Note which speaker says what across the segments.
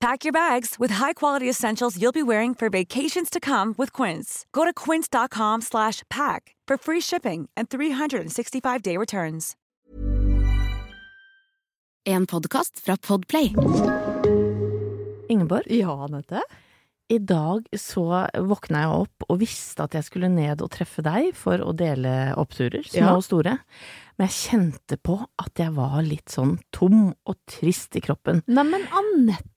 Speaker 1: Pack your bags with high-quality essentials you'll be wearing for vacations to come with Quince. Go to quince.com/pack slash pack for free shipping and 365-day returns.
Speaker 2: En podkast fra Podplay.
Speaker 3: Ingeborg,
Speaker 4: Ja, Anette.
Speaker 3: i dag så våkna jeg opp og visste at jeg skulle ned og treffe deg for å dele oppturer, små
Speaker 4: Ja.
Speaker 3: og store. Men jeg kjente på at jeg var litt sånn tom og trist i kroppen.
Speaker 4: Neimen, Anette.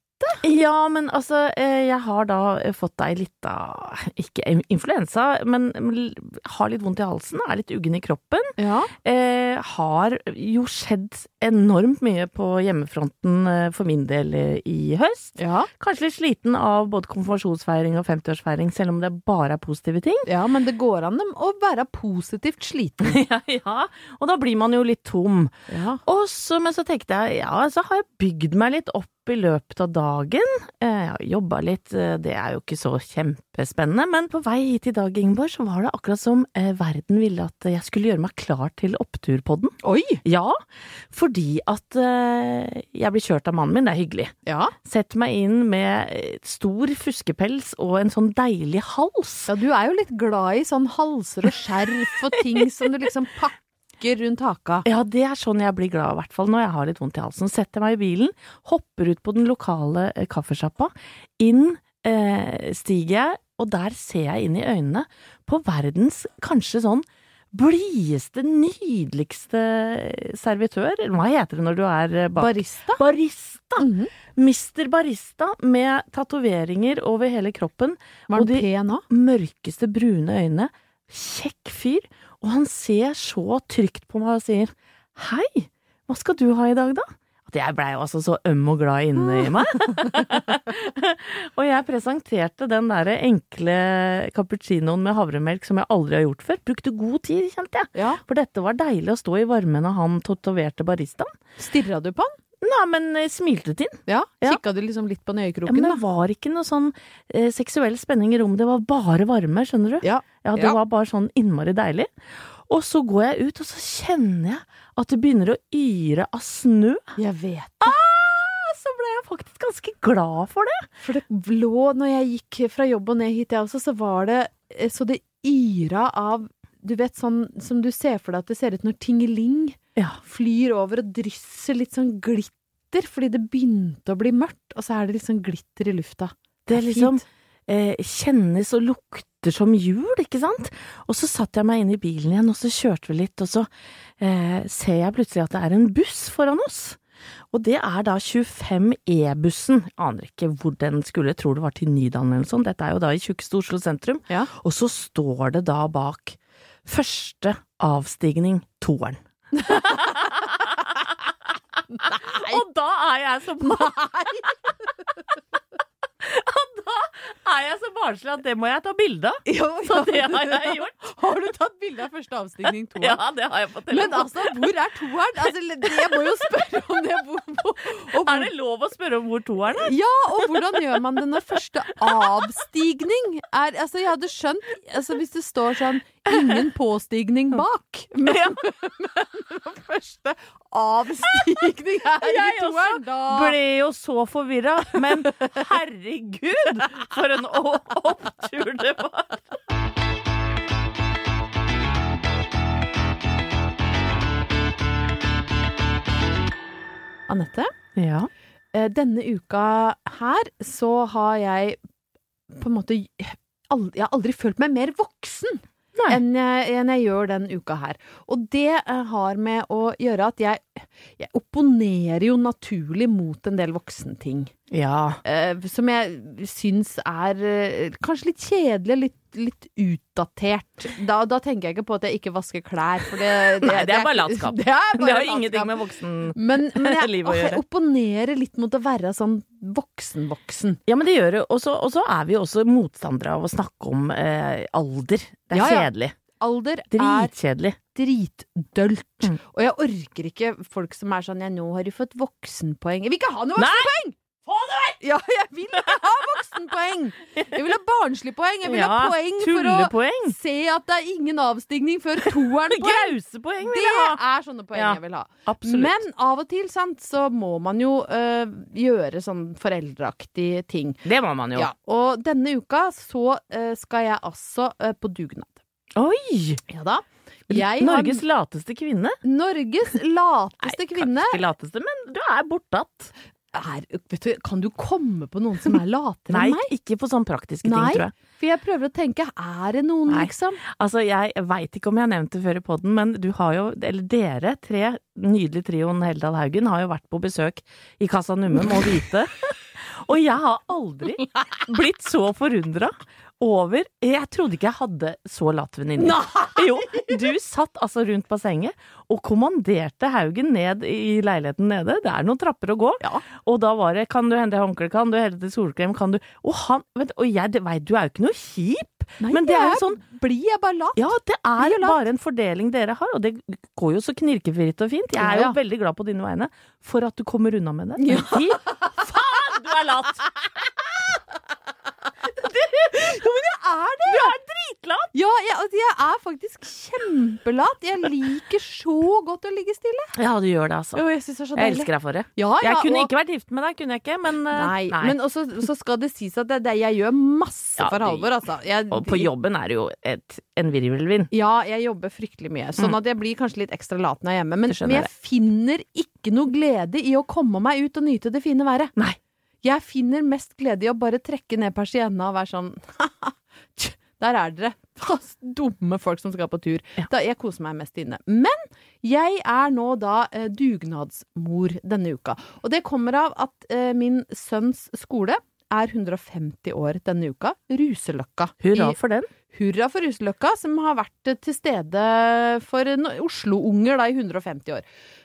Speaker 3: Ja, men altså, eh, jeg har da eh, fått deg litt av Ikke in- influensa, men mm, l- har litt vondt i halsen, er litt uggen i kroppen.
Speaker 4: Ja.
Speaker 3: Eh, har jo skjedd enormt mye på hjemmefronten eh, for min del eh, i høst.
Speaker 4: Ja.
Speaker 3: Kanskje litt sliten av både konfirmasjonsfeiring og 50-årsfeiring, selv om det bare er positive ting.
Speaker 4: ja, men det går an å være positivt sliten.
Speaker 3: ja, ja. Og da blir man jo litt tom.
Speaker 4: Ja.
Speaker 3: Og så, men så tenkte jeg, ja, så har jeg bygd meg litt opp i løpet av dagen. Eh, Jeg har jobba litt, eh, det er jo ikke så kjempespennende. Men på vei hit i dag, Ingeborg, så var det akkurat som eh, verden ville at jeg skulle gjøre meg klar til oppturpodden.
Speaker 4: Oi!
Speaker 3: Ja, fordi at eh, jeg blir kjørt av mannen min, det er hyggelig.
Speaker 4: Ja.
Speaker 3: Setter meg inn med eh, stor fuskepels og en sånn deilig hals.
Speaker 4: ja, du er jo litt glad i sånn halser og skjerf og ting som du liksom pakker rundt haka.
Speaker 3: Ja, det er sånn jeg blir glad, i hvert fall når jeg har litt vondt i halsen. Setter meg i bilen, hopper ut på den lokale eh, kaffesjappa. Inn eh, stiger jeg, og der ser jeg inn i øynene på verdens kanskje sånn blideste, nydeligste eh, servitør. Eller Hva heter det når du er eh, bak?
Speaker 4: Barista?
Speaker 3: Barista!
Speaker 4: Mhm.
Speaker 3: Mister Barista med tatoveringer over hele kroppen.
Speaker 4: Var
Speaker 3: og
Speaker 4: den
Speaker 3: de-
Speaker 4: pen òg?
Speaker 3: mørkeste brune øyne, kjekk fyr, og han ser så trygt på meg og sier hei, hva skal du ha i dag da? At jeg blei jo altså så øm og glad inne i meg. og jeg presenterte den derre enkle cappuccinoen med havremelk som jeg aldri har gjort før. Brukte god tid, kjente jeg.
Speaker 4: Ja.
Speaker 3: For dette var deilig å stå i varmen av han tatoverte baristaen.
Speaker 4: Stirra du på den?
Speaker 3: Nei, men eh, smilte til.
Speaker 4: Ja.
Speaker 3: Ja.
Speaker 4: Kikka du liksom litt på den i
Speaker 3: Ja, men
Speaker 4: øyekroken,
Speaker 3: det
Speaker 4: da?
Speaker 3: var ikke noe sånn eh, seksuell spenning i rommet, det var bare varme, skjønner du?
Speaker 4: Ja.
Speaker 3: Ja, det
Speaker 4: Ja.
Speaker 3: var bare sånn innmari deilig. Og så går jeg ut, og så kjenner jeg at det begynner å yre av snø.
Speaker 4: Jeg vet.
Speaker 3: Ja, så ble jeg faktisk ganske glad for det.
Speaker 4: For det lå, når jeg gikk fra jobb og ned hit, jeg også, så var det eh, så det yra av Du vet sånn som du ser for deg at det ser ut når tingeling
Speaker 3: Ja.
Speaker 4: flyr over og drysser litt sånn glitter, fordi det begynte å bli mørkt, og så er det litt sånn glitter i lufta.
Speaker 3: Det
Speaker 4: er
Speaker 3: liksom
Speaker 4: fint.
Speaker 3: eh, kjennes og lukter som jul, ikke sant? Og så satte jeg meg inn i bilen igjen, og så kjørte vi litt, og så eh, ser jeg plutselig at det er en buss foran oss. Og det er da 25E-bussen. Aner ikke hvor den skulle, tror det var til Nydalen eller noe sånt. Dette er jo da i tjukkeste Oslo sentrum.
Speaker 4: Ja.
Speaker 3: Og så står det da bak første avstigning, toeren. Og da er jeg så på Nei! Og da er jeg så barnslig at det må jeg ta bilde av. Så det har jeg gjort.
Speaker 4: Har du tatt bilde av første avstigning to?
Speaker 3: Ja, det har jeg på
Speaker 4: Men
Speaker 3: telefonen.
Speaker 4: altså, hvor er toeren? Altså, jeg må jo spørre om det. Hvor, hvor, og hvor,
Speaker 3: Er det lov å spørre om hvor toeren er?
Speaker 4: ja, og hvordan gjør man det når første avstigning er Altså, jeg hadde skjønt altså, hvis det står sånn 'ingen påstigning bak', men,
Speaker 3: Ja.
Speaker 4: men når første avstigning er i
Speaker 3: Jeg også
Speaker 4: toeren, da
Speaker 3: ble jo så forvirra, men herregud, for en o- opptur det var.
Speaker 4: Anette,
Speaker 3: Ja.
Speaker 4: eh, denne uka her så har jeg på en måte aldri, Jeg har aldri følt meg mer voksen
Speaker 3: Nei.
Speaker 4: enn jeg, enn jeg gjør den uka her. Og det eh, har med å gjøre at jeg, jeg opponerer jo naturlig mot en del voksenting.
Speaker 3: Ja.
Speaker 4: eh, som jeg syns er eh, kanskje litt kjedelig, litt, litt utdatert. Da, da tenker jeg ikke på at jeg ikke vasker klær, for det, det,
Speaker 3: Nei, det er bare
Speaker 4: ikke-
Speaker 3: latskap.
Speaker 4: Det, er
Speaker 3: Det
Speaker 4: bare
Speaker 3: har jo ingenting
Speaker 4: latskap.
Speaker 3: med voksen
Speaker 4: men, men jeg,
Speaker 3: livet å
Speaker 4: åh, jeg
Speaker 3: gjøre.
Speaker 4: opponerer litt mot å være sånn voksen-voksen.
Speaker 3: Ja, men det gjør det. Og så og så er vi jo også motstandere av å snakke om eh, alder. Det er
Speaker 4: Ja, ja.
Speaker 3: kjedelig.
Speaker 4: Alder er
Speaker 3: Dritkjedelig.
Speaker 4: dritdølt.
Speaker 3: Mm.
Speaker 4: Og jeg orker ikke folk som er sånn Ja, nå har du fått voksenpoeng. Jeg vil ikke ha noe
Speaker 3: Nei!
Speaker 4: voksenpoeng! Ja, jeg vil ikke ha voksenpoeng! Jeg vil ha barnslig poeng. Jeg vil ha
Speaker 3: Ja,
Speaker 4: poeng for å
Speaker 3: tullepoeng.
Speaker 4: se at det er ingen avstigning før toeren poeng.
Speaker 3: Grausepoeng vil
Speaker 4: Det
Speaker 3: jeg ha.
Speaker 4: er sånne poeng
Speaker 3: Ja,
Speaker 4: jeg vil ha.
Speaker 3: Absolutt.
Speaker 4: Men av og til sant, så må man jo øh, gjøre sånn foreldreaktige ting.
Speaker 3: det må man jo.
Speaker 4: Ja, og denne uka så øh, skal jeg altså øh, på dugnad.
Speaker 3: Oi!
Speaker 4: Ja da. Jeg
Speaker 3: Norges
Speaker 4: har,
Speaker 3: lateste kvinne.
Speaker 4: Norges lateste kvinne.
Speaker 3: Kanskje ikke lateste, men du er bortatt.
Speaker 4: Er, vet du, kan du komme på noen som er latere
Speaker 3: Nei,
Speaker 4: enn meg?
Speaker 3: ikke på sånne praktiske
Speaker 4: Nei,
Speaker 3: ting, tror jeg.
Speaker 4: for jeg prøver å tenke, er det noen,
Speaker 3: Nei.
Speaker 4: liksom?
Speaker 3: Altså, jeg veit ikke om jeg har nevnt det før i poden, men du har jo, eller dere tre, nydelig trioen Heldal Haugen, har jo vært på besøk i Casa Numme, må vite. Og jeg har aldri blitt så forundra over Jeg trodde ikke jeg hadde så latt venninne. Jo, du satt altså rundt bassenget og kommanderte Haugen ned i leiligheten nede. Det er noen trapper å gå. Og da var det 'kan du hente håndkle', 'kan du hente solkrem', 'kan du' Og han vet, Og jeg veit, du er jo ikke noe kjip, men det er jo sånn
Speaker 4: Blir jeg bare lat?
Speaker 3: ja, det er bare en fordeling dere har, og det går jo så knirkefritt og fint. Jeg er jo
Speaker 4: Ja, ja.
Speaker 3: veldig glad på dine vegne for at du kommer unna med det. Men fy faen, du er lat!
Speaker 4: Er det?
Speaker 3: Du er dritlat!
Speaker 4: Ja, jeg, altså, jeg er faktisk kjempelat. Jeg liker så godt å ligge stille.
Speaker 3: Ja, du gjør det, altså.
Speaker 4: Jo, jeg synes det er så
Speaker 3: Jeg
Speaker 4: deilig.
Speaker 3: elsker deg for det.
Speaker 4: Ja, ja,
Speaker 3: Jeg kunne
Speaker 4: og-
Speaker 3: ikke vært gift med deg, kunne jeg ikke, men eh,
Speaker 4: Nei,
Speaker 3: nei.
Speaker 4: men også, så skal det sies at det, det, jeg gjør masse
Speaker 3: Ja,
Speaker 4: for
Speaker 3: det-
Speaker 4: Halvor, altså. Jeg,
Speaker 3: Og på jobben er det jo et, en virvelvind.
Speaker 4: Ja, jeg jobber fryktelig mye, sånn at jeg blir kanskje litt ekstra lat når jeg er hjemme. Men,
Speaker 3: Mm. Det skjønner
Speaker 4: men jeg finner ikke noe glede i å komme meg ut og nyte det fine været.
Speaker 3: Nei.
Speaker 4: Jeg finner mest glede i å bare trekke ned persienna og være sånn «Tj, Der er dere! Dumme folk som skal på tur. Da, jeg koser meg mest inne. Men jeg er nå da eh, dugnadsmor denne uka. Og det kommer av at eh, min sønns skole er 150 år denne uka. Ruseløkka.
Speaker 3: Hurra
Speaker 4: I-
Speaker 3: for den.
Speaker 4: Hurra for Ruseløkka, som har vært eh, til stede for eh, no- Oslo-unger da i 150 år.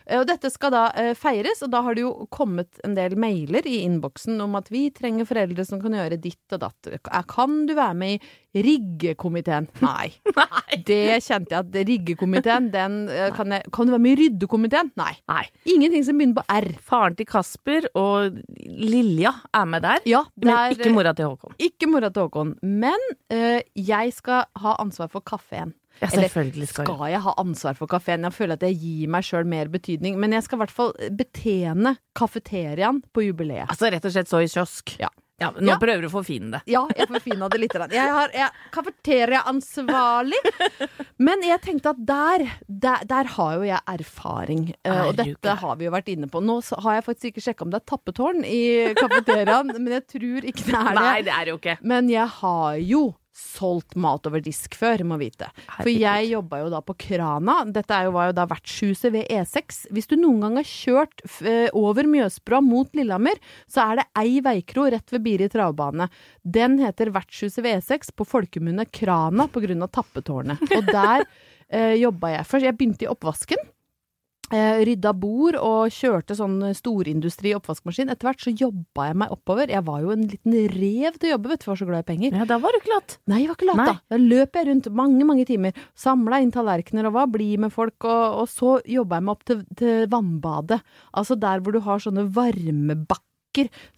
Speaker 4: Eh, Og dette skal da eh, feires, og da har det jo kommet en del mailer i innboksen om at vi trenger foreldre som kan gjøre ditt og datt. Eh, Kan du være med i riggekomiteen? Nei. Det kjente jeg at riggekomiteen, den eh, kan jeg Kan du være med i ryddekomiteen? Nei.
Speaker 3: Nei.
Speaker 4: Ingenting som begynner på R.
Speaker 3: Faren til Kasper og Lilja er med der,
Speaker 4: Ja,
Speaker 3: men
Speaker 4: der-
Speaker 3: ikke mora til Håkon.
Speaker 4: Ikke mora til Håkon. Men eh, jeg skal ha ansvar for kaffen.
Speaker 3: Ja,
Speaker 4: Eller,
Speaker 3: selvfølgelig skal hun.
Speaker 4: Skal jeg ha ansvar for kafeen? Jeg føler at jeg gir meg sjøl mer betydning. Men jeg skal i hvert fall eh, betjene kafeteriaen på jubileet.
Speaker 3: Altså rett og slett så i kiosk.
Speaker 4: Ja.
Speaker 3: Ja, nå
Speaker 4: Ja.
Speaker 3: prøver du å forfine det.
Speaker 4: Ja, jeg forfina det litt. grann. Jeg har- jeg er kafeteriaansvarlig. Men jeg tenkte at der, der, der har jo jeg erfaring. Eh, Og
Speaker 3: Herregud.
Speaker 4: dette har vi jo vært inne på. Nå så har jeg faktisk ikke sjekka om det er tappetårn i kafeteriaen, men jeg tror ikke det er det.
Speaker 3: Nei, det er det jo ikke.
Speaker 4: Men jeg har jo solgt mat over disk før, må vite. For
Speaker 3: Herregud.
Speaker 4: jeg jobba jo da på Krana. Dette er jo, var jo da vertshuset ved E6. Hvis du noen gang har kjørt f eh, over Mjøsbrua mot Lillehammer, så er det ei veikro rett ved Biri travbane. Den heter Vertshuset ved E6, på folkemunne Krana, på grunn av tappetårnet. Og der eh, jobba jeg først. Jeg begynte i oppvasken. Eh, rydda bord og kjørte sånn storindustri oppvaskmaskin. Etter hvert så jobba jeg meg oppover. Jeg var jo en liten rev til å jobbe, vet du, for jeg var så glad i penger.
Speaker 3: Ja, da var du ikke latt.
Speaker 4: Nei, jeg var ikke lat, da. Da løp jeg rundt mange, mange timer. Samla inn tallerkener og var blid med folk, og, og så jobba jeg meg opp til, til vannbadet. Altså der hvor du har sånne varmebakker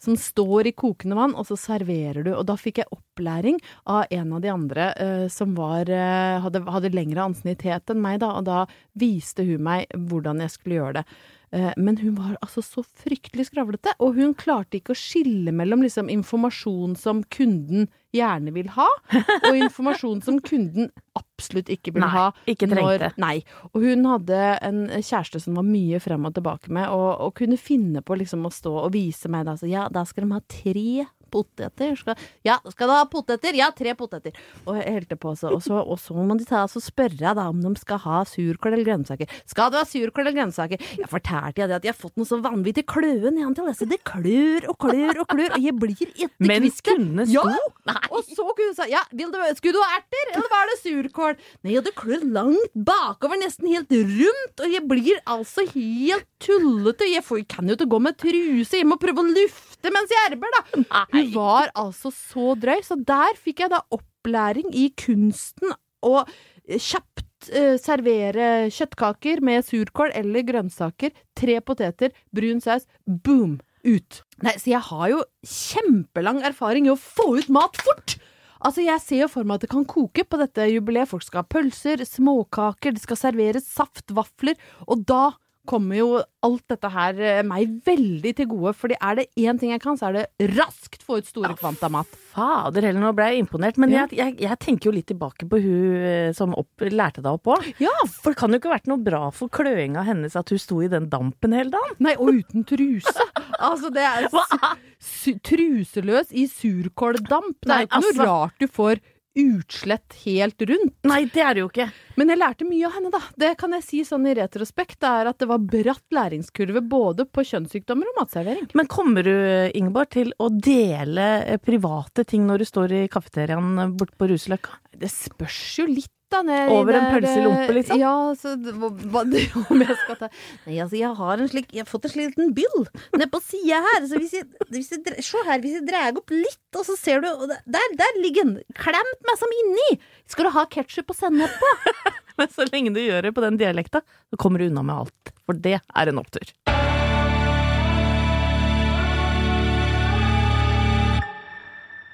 Speaker 4: som står i kokende vann, og så serverer du. Og da fikk jeg opplæring av en av de andre eh, som var, eh, hadde, hadde lengre ansiennitet enn meg, da, og da viste hun meg hvordan jeg skulle gjøre det. Eh, Men hun var altså så fryktelig skravlete, og hun klarte ikke å skille mellom liksom, informasjon som kunden gjerne vil ha, og informasjon som kunden absolutt ikke vil
Speaker 3: Nei,
Speaker 4: ha.
Speaker 3: ikke trengte.
Speaker 4: Nei. Og hun hadde en kjæreste som var mye frem og tilbake med, og, og kunne finne på liksom, å stå og vise meg da, så ja, da skal de ha tre poteter. Skal, ja, skal du ha poteter? Ja, tre poteter. Og jeg helte på, så, og, så, og så må de ta, så spørre jeg da om de skal ha surkål eller grønnsaker. Skal du ha surkål eller grønnsaker? Jeg fortalte jeg det at jeg har fått noe så vanvittig kløe ned til disse. Det klør og klør og klør, og jeg blir ikke
Speaker 3: Mens
Speaker 4: kvitt det.
Speaker 3: kundene sto?
Speaker 4: Ja! Og så kunne hun sa ja, vil du, skulle du ha erter, eller var det surkål? Nei, og det klør langt bakover, nesten helt rundt, og jeg blir altså helt tullete. Jeg får, kan jo ikke gå med truse, jeg må prøve å lufte mens jeg erber, da. Hun var altså så drøy, så der fikk jeg da opplæring i kunsten å kjapt eh, servere kjøttkaker med surkål eller grønnsaker, tre poteter, brun saus, boom, ut. Nei, så jeg har jo kjempelang erfaring i å få ut mat fort! Altså, Jeg ser jo for meg at det kan koke på dette jubileet. Folk skal ha pølser, småkaker, det skal serveres saft, vafler. Og da kommer jo alt dette her eh, meg veldig til gode. Fordi er det én ting jeg kan, så er det raskt få ut store kvanta mat.
Speaker 3: Fader heller, nå ble jeg imponert. Men
Speaker 4: Ja.
Speaker 3: jeg, jeg, jeg tenker jo litt tilbake på hun eh, som opp, lærte deg opp òg.
Speaker 4: Ja,
Speaker 3: For det kan jo ikke ha vært noe bra for kløinga hennes at hun sto i den dampen hele dagen.
Speaker 4: Nei, og uten truse. Altså, det er su truseløs i surkåldamp. Det er
Speaker 3: Nei,
Speaker 4: jo ikke
Speaker 3: altså.
Speaker 4: noe rart du får utslett helt rundt.
Speaker 3: Nei, det er det jo ikke.
Speaker 4: Men jeg lærte mye av henne, da. Det kan jeg si sånn i retrospekt. Det er at det var bratt læringskurve både på kjønnssykdommer og matservering.
Speaker 3: Men kommer du, Ingeborg, til å dele eh, private ting når du står i kafeteriaen borte på Ruseløkka?
Speaker 4: Det spørs jo litt. Da, når jeg-
Speaker 3: Over en
Speaker 4: der,
Speaker 3: pølse i lompe,
Speaker 4: eh,
Speaker 3: liksom?
Speaker 4: Ja, så d- hva, hva, om jeg skal ta Nei, altså, jeg har en slik Jeg har fått en slik liten byll nede på sida her. Så hvis jeg, hvis jeg dre- Se her, hvis jeg drar opp litt, og så ser du og det- Der, der ligger den! Klemt meg som inni! Skal du ha ketsjup og sennep på?
Speaker 3: Men så lenge du gjør det på den dialekta, så kommer du unna med alt. For det er en opptur.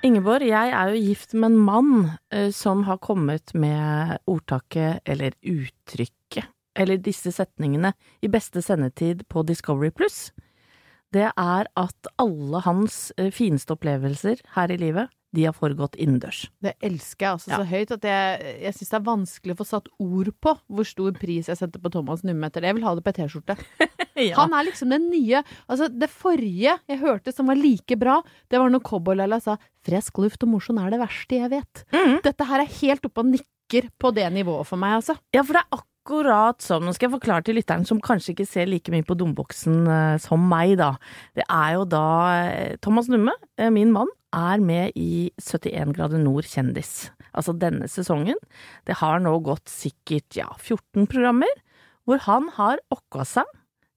Speaker 3: Ingeborg, jeg er jo gift med en mann eh, som har kommet med ordtaket, eller uttrykket, eller disse setningene i beste sendetid på Discovery Pluss. Det er at alle hans eh, fineste opplevelser her i livet, de har foregått innendørs.
Speaker 4: Det elsker jeg altså
Speaker 3: Ja.
Speaker 4: så høyt at jeg, jeg syns det er vanskelig å få satt ord på hvor stor pris jeg setter på Thomas Numme etter det. Jeg vil ha det på ei T-skjorte. Han er liksom den nye Altså, det forrige jeg hørte som var like bra, det var når Cowboy-Laila sa 'Fresk luft og mosjon er det verste jeg vet'. Dette her er helt oppe og nikker på det nivået for meg, altså.
Speaker 3: Ja, for det er akkurat sånn. Nå skal jeg forklare til lytteren som kanskje ikke ser like mye på Domboksen eh, som meg, da. Det er jo da eh, Thomas Numme, eh, min mann, er med i 71 grader nord kjendis. Altså denne sesongen. Det har nå gått sikkert ja, 14 programmer hvor han har okka seg.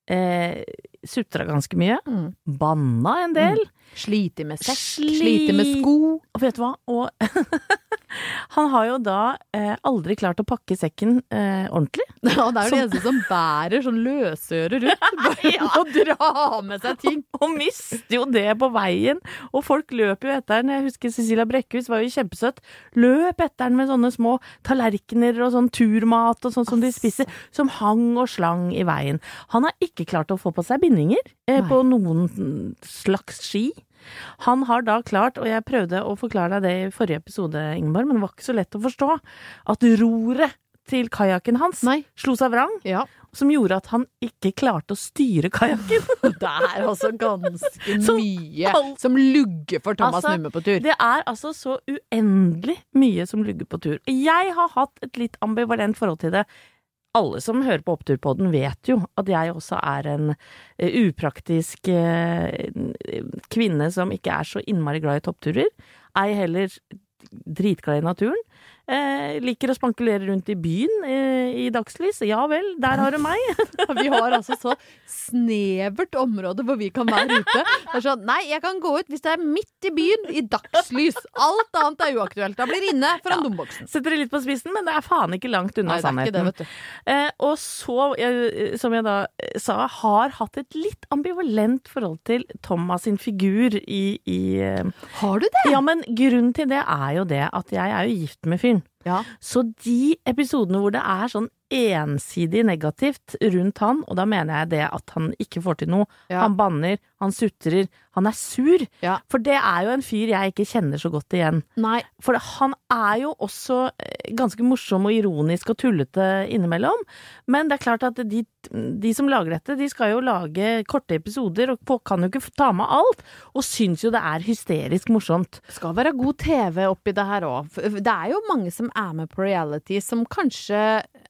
Speaker 3: Eh, Sutra ganske mye.
Speaker 4: Mm.
Speaker 3: Banna en del.
Speaker 4: Sliter med sekk,
Speaker 3: Sli-
Speaker 4: sliter med sko.
Speaker 3: Og vet du hva? Og han har jo da eh, aldri klart å pakke sekken eh, ordentlig.
Speaker 4: Ja, det er jo de
Speaker 3: Som-
Speaker 4: eneste som bærer sånn løsøre rundt bare
Speaker 3: Ja.
Speaker 4: og drar med seg ting.
Speaker 3: og mister jo det på veien. Og folk løper jo etter den. Jeg husker Cecilia Brekkhus var jo kjempesøt. Løp etter den med sånne små tallerkener og sånn turmat og sånn som de spiser, som hang og slang i veien. Han har ikke klart å få på seg bindinger eh, på noen slags ski. Han har da klart, og jeg prøvde å forklare deg det i forrige episode, Ingeborg, men det var ikke så lett å forstå, at roret til kajakken hans
Speaker 4: Nei.
Speaker 3: slo seg vrang,
Speaker 4: Ja.
Speaker 3: som gjorde at han ikke klarte å styre kajakken.
Speaker 4: Det er altså ganske
Speaker 3: Som
Speaker 4: mye
Speaker 3: alt-
Speaker 4: som lugger for Thomas
Speaker 3: Altså,
Speaker 4: Numme på tur.
Speaker 3: Det er altså så uendelig mye som lugger på tur. Jeg har hatt et litt ambivalent forhold til det. Alle som hører på Oppturpodden vet jo at jeg også er en eh, upraktisk eh, kvinne som ikke er så innmari glad i toppturer. Ei heller dritglad i naturen. Eh, liker å spankulere rundt i byen eh, i dagslys. Ja vel, der har du meg.
Speaker 4: Vi har altså så snevert område hvor vi kan være ute. Det er sånn, nei, jeg kan gå ut hvis det er midt i byen, i dagslys. Alt annet er uaktuelt. Da blir det inne foran dumboksen.
Speaker 3: Setter det litt på spissen, men det er faen ikke langt
Speaker 4: Nei, det
Speaker 3: unna
Speaker 4: er ikke
Speaker 3: sannheten.
Speaker 4: det, vet du.
Speaker 3: Eh, og så, eh, som jeg da eh, sa, har hatt et litt ambivalent forhold til Thomas sin figur i, i eh,
Speaker 4: Har du det?
Speaker 3: Ja, men grunnen til det er jo det at jeg er jo gift med fyren.
Speaker 4: Ja.
Speaker 3: Så de episodene hvor det er sånn ensidig negativt rundt han, og da mener jeg det at han ikke får til noe,
Speaker 4: Ja.
Speaker 3: han banner, han sutrer, han er sur.
Speaker 4: Ja.
Speaker 3: For det er jo en fyr jeg ikke kjenner så godt igjen.
Speaker 4: Nei.
Speaker 3: For han er jo også eh, ganske morsom og ironisk og tullete innimellom. Men det er klart at de, de som lager dette, de skal jo lage korte episoder og folk kan jo ikke ta med alt. Og syns jo det er hysterisk morsomt.
Speaker 4: Skal være god TV oppi det her òg. Det er jo mange som er med på reality, som kanskje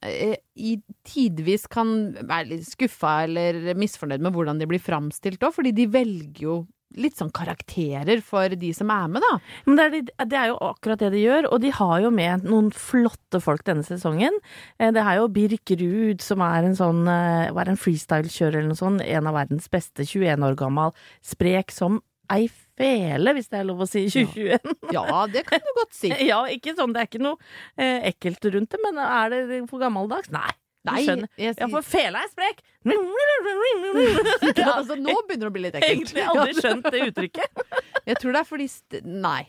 Speaker 4: eh, i tidvis kan være litt skuffa eller misfornøyd med hvordan de blir framstilt òg, fordi de velger jo litt sånn karakterer for de som er med, da.
Speaker 3: Men det er, det er jo akkurat det de gjør, og de har jo med noen flotte folk denne sesongen. Eh, Det er jo Birk Ruud, som er en sånn eh, hva er det, en freestyle-kjører eller noe sånt. En av verdens beste, 21 år gammel. Sprek som ei fele, hvis det er lov å si, i 2021.
Speaker 4: Ja, det kan du godt si.
Speaker 3: Ja, ikke sånn, det er ikke noe eh, ekkelt rundt det, men er det for gammeldags? Nei. Du
Speaker 4: Nei,
Speaker 3: skjønner.
Speaker 4: jeg-
Speaker 3: Ja, for fela er sprek!
Speaker 4: Ja,
Speaker 3: Ja,
Speaker 4: altså, nå begynner det å bli litt ekkelt.
Speaker 3: Egentlig aldri skjønt det uttrykket.
Speaker 4: Jeg tror det er fordi st Nei.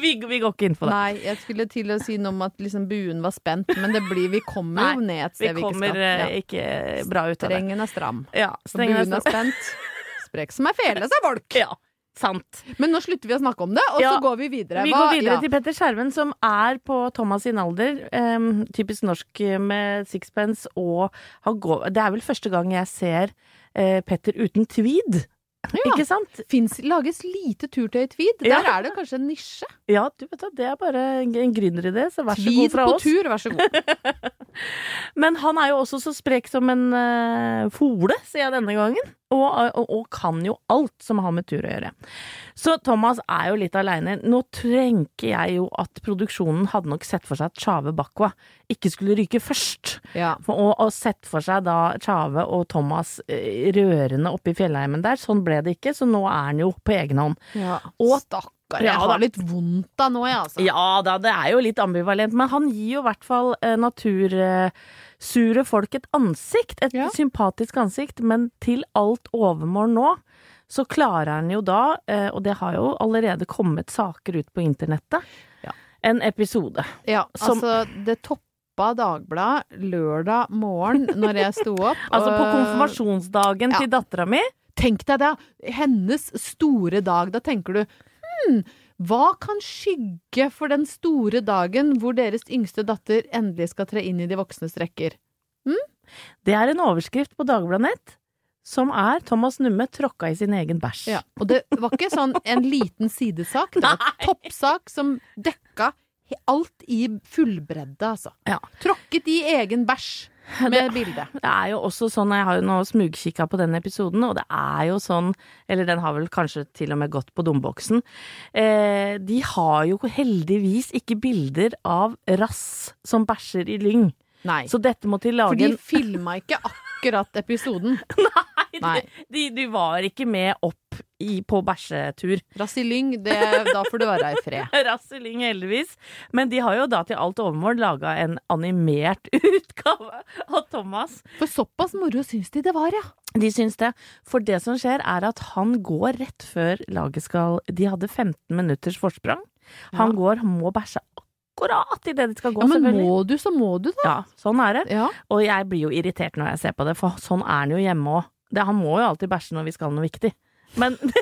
Speaker 3: Vi, vi går ikke inn på det.
Speaker 4: Nei, jeg skulle til å si noe om at liksom buen var spent, men det blir Vi kommer jo
Speaker 3: Nei,
Speaker 4: ned et
Speaker 3: Vi
Speaker 4: sted vi,
Speaker 3: kommer
Speaker 4: ikke skal.
Speaker 3: eh, ikke bra ut av det.
Speaker 4: Strengen er stram.
Speaker 3: Ja,
Speaker 4: Buen
Speaker 3: strengere
Speaker 4: er spent. Sprek som er fele, sa folk.
Speaker 3: Ja, sant.
Speaker 4: Men nå slutter vi å snakke om det, og
Speaker 3: Ja,
Speaker 4: så går vi videre.
Speaker 3: Vi
Speaker 4: Hva-
Speaker 3: går
Speaker 4: ja.
Speaker 3: videre til Petter Skjerven, som er på Thomas sin alder. em, typisk norsk eh, med sixpence og har gå... Det er vel første gang jeg ser eh, Petter uten tweed.
Speaker 4: Ja.
Speaker 3: Ikke sant?
Speaker 4: Finnes, lages lite turtøy i tweed.
Speaker 3: Ja.
Speaker 4: Der er det kanskje en nisje.
Speaker 3: Ja, du vet at det er bare en en gründeridé, så vær så
Speaker 4: Tweed
Speaker 3: god fra
Speaker 4: på
Speaker 3: oss.
Speaker 4: tur, vær så god.
Speaker 3: Men han er jo også så sprek som en eh, fole, sier jeg denne gangen. Og, og, og kan jo alt som har med tur å gjøre. Så Thomas er jo litt aleine. Nå tenker jeg jo at produksjonen hadde nok sett for seg at Tjave Bakwa ikke skulle ryke først.
Speaker 4: Ja.
Speaker 3: For- Og, og sett for seg da Tjave og Thomas eh, rørende oppe i fjellheimen der. Sånn ble det ikke, så nå er han jo på egen hånd.
Speaker 4: Og
Speaker 3: Og-
Speaker 4: stakkar, jeg
Speaker 3: Ja, da.
Speaker 4: har litt vondt da nå, jeg, altså.
Speaker 3: Ja da, det er jo litt ambivalent, men han gir jo i hvert fall eh, natursure folk et ansikt. Et
Speaker 4: Ja.
Speaker 3: sympatisk ansikt, men til alt overmål nå, så klarer han jo da, eh, og det har jo allerede kommet saker ut på internettet,
Speaker 4: Ja.
Speaker 3: en episode.
Speaker 4: Ja,
Speaker 3: Som-
Speaker 4: altså, det toppa Dagbladet lørdag morgen når jeg sto opp.
Speaker 3: Altså på
Speaker 4: og-
Speaker 3: konfirmasjonsdagen
Speaker 4: Øh, ja.
Speaker 3: til dattera mi.
Speaker 4: Tenk deg det! Hennes store dag. Da tenker du hm, hva kan skygge for den store dagen hvor deres yngste datter endelig skal tre inn i de voksnes rekker?
Speaker 3: Det er en overskrift på Dagbladet Nett som er Thomas Numme tråkka i sin egen bæsj.
Speaker 4: Ja. Og det var ikke sånn en liten sidesak, det var en toppsak som dekka he- alt i fullbredde, altså.
Speaker 3: Ja.
Speaker 4: Tråkket i egen bæsj med bilde.
Speaker 3: Det er jo også sånn, jeg har jo nå smugkikka på den episoden, og det er jo sånn, eller den har vel kanskje til og med gått på domboksen, eh, de har jo heldigvis ikke bilder av rass som bæsjer i lyng.
Speaker 4: Nei.
Speaker 3: Så dette må de
Speaker 4: For
Speaker 3: lage
Speaker 4: de
Speaker 3: en
Speaker 4: filma ikke akkurat episoden. Nei.
Speaker 3: De, de var ikke med opp i, på bæsjetur.
Speaker 4: Rasilyng, det, da får du være i fred.
Speaker 3: Rass i lyng, heldigvis. Men de har jo da til alt overmål laga en animert utgave av Thomas.
Speaker 4: For såpass moro syns de det var, ja.
Speaker 3: De syns det. For det som skjer, er at han går rett før laget skal De hadde 15 minutters forsprang. Han
Speaker 4: Ja.
Speaker 3: går, han må bæsje akkurat idet de skal gå,
Speaker 4: ja men
Speaker 3: selvfølgelig.
Speaker 4: må du, så må du, da.
Speaker 3: Ja, sånn er det.
Speaker 4: Ja.
Speaker 3: Og jeg blir jo irritert når jeg ser på det, for sånn er han jo hjemme òg. Han må jo alltid bæsje når vi skal noe viktig. Men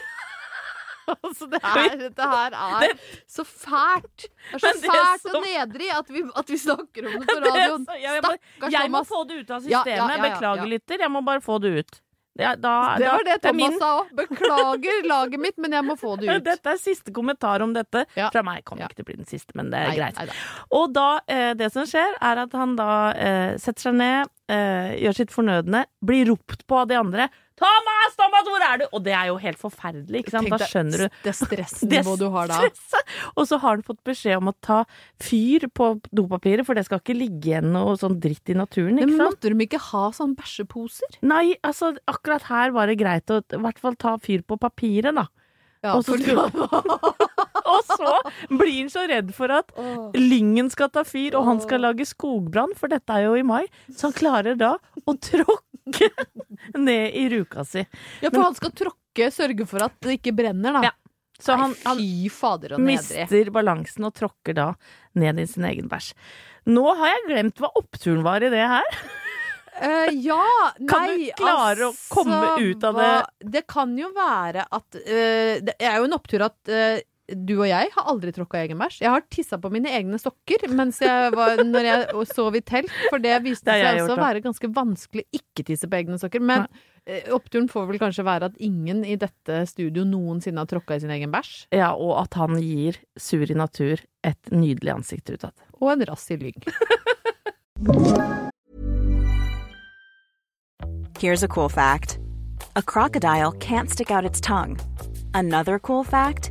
Speaker 4: Altså, det her, dette her er så fælt. Det er så
Speaker 3: Men det
Speaker 4: fælt
Speaker 3: som-
Speaker 4: og nedrig at vi, at vi snakker om det på
Speaker 3: Det er
Speaker 4: radioen.
Speaker 3: så- ja, jeg, må,
Speaker 4: Stakkars
Speaker 3: jeg må
Speaker 4: Thomas.
Speaker 3: få det ut av
Speaker 4: Ja,
Speaker 3: systemet.
Speaker 4: ja, ja, ja,
Speaker 3: Beklager,
Speaker 4: ja.
Speaker 3: lytter. Jeg må bare få det ut. Ja, da,
Speaker 4: Det
Speaker 3: da-
Speaker 4: var det
Speaker 3: er min-
Speaker 4: Thomas sa òg. Beklager laget mitt, men jeg må få det ut.
Speaker 3: Dette er siste kommentar om dette.
Speaker 4: Ja.
Speaker 3: Fra meg kommer
Speaker 4: Ja.
Speaker 3: ikke til å bli den siste, men det er
Speaker 4: Nei,
Speaker 3: greit.
Speaker 4: nei da.
Speaker 3: Og da, eh, det som skjer, er at han da eh, setter seg ned, eh, gjør sitt fornødne, blir ropt på av de andre. Thomas, Thomas, hvor er du? Og det er jo helt forferdelig, ikke sant?
Speaker 4: Tenk
Speaker 3: Da
Speaker 4: deg
Speaker 3: skjønner du
Speaker 4: Det stressnivået du har da.
Speaker 3: Det stresset. Og så har du fått beskjed om å ta fyr på dopapiret, for det skal ikke ligge igjen noe sånn dritt i naturen,
Speaker 4: Men
Speaker 3: ikke sant?
Speaker 4: måtte de ikke ha sånne bæsjeposer?
Speaker 3: Nei, altså akkurat her var det greit å i hvert fall ta fyr på papiret, da. og, så skulle... og så blir han så redd for at Lyngen skal ta fyr, og han skal lage skogbrann, for dette er jo i mai. Så han klarer da å tråkke ned i ruka si.
Speaker 4: Ja, for han skal tråkke, sørge for at det ikke brenner, da.
Speaker 3: Ja. Så han,
Speaker 4: Nei,
Speaker 3: han
Speaker 4: Fy fader og nedrig.
Speaker 3: mister balansen og tråkker da ned i sin egen bæsj. Nå har jeg glemt hva oppturen var i det her.
Speaker 4: Eh, ja,
Speaker 3: Kan du
Speaker 4: nei, altså,
Speaker 3: klare å komme ut av
Speaker 4: hva- Det kan jo være at eh, Det er jo en opptur at eh, du og jeg har aldri tråkka egen bæsj. Jeg har tissa på mine egne sokker mens jeg var, når jeg sov i telt, for det viste
Speaker 3: Det har
Speaker 4: seg
Speaker 3: jeg
Speaker 4: også å
Speaker 3: gjort, da.
Speaker 4: være ganske vanskelig ikke tisse på egne sokker. Men eh, oppturen får vel kanskje være at ingen i dette studio noensinne har tråkka i sin egen bæsj.
Speaker 3: Ja, og at han gir Suri Natur et nydelig ansikt utad.
Speaker 4: Og en rass i lyng.
Speaker 1: Here's a cool fact a crocodile can't stick out its tongue. Another cool fact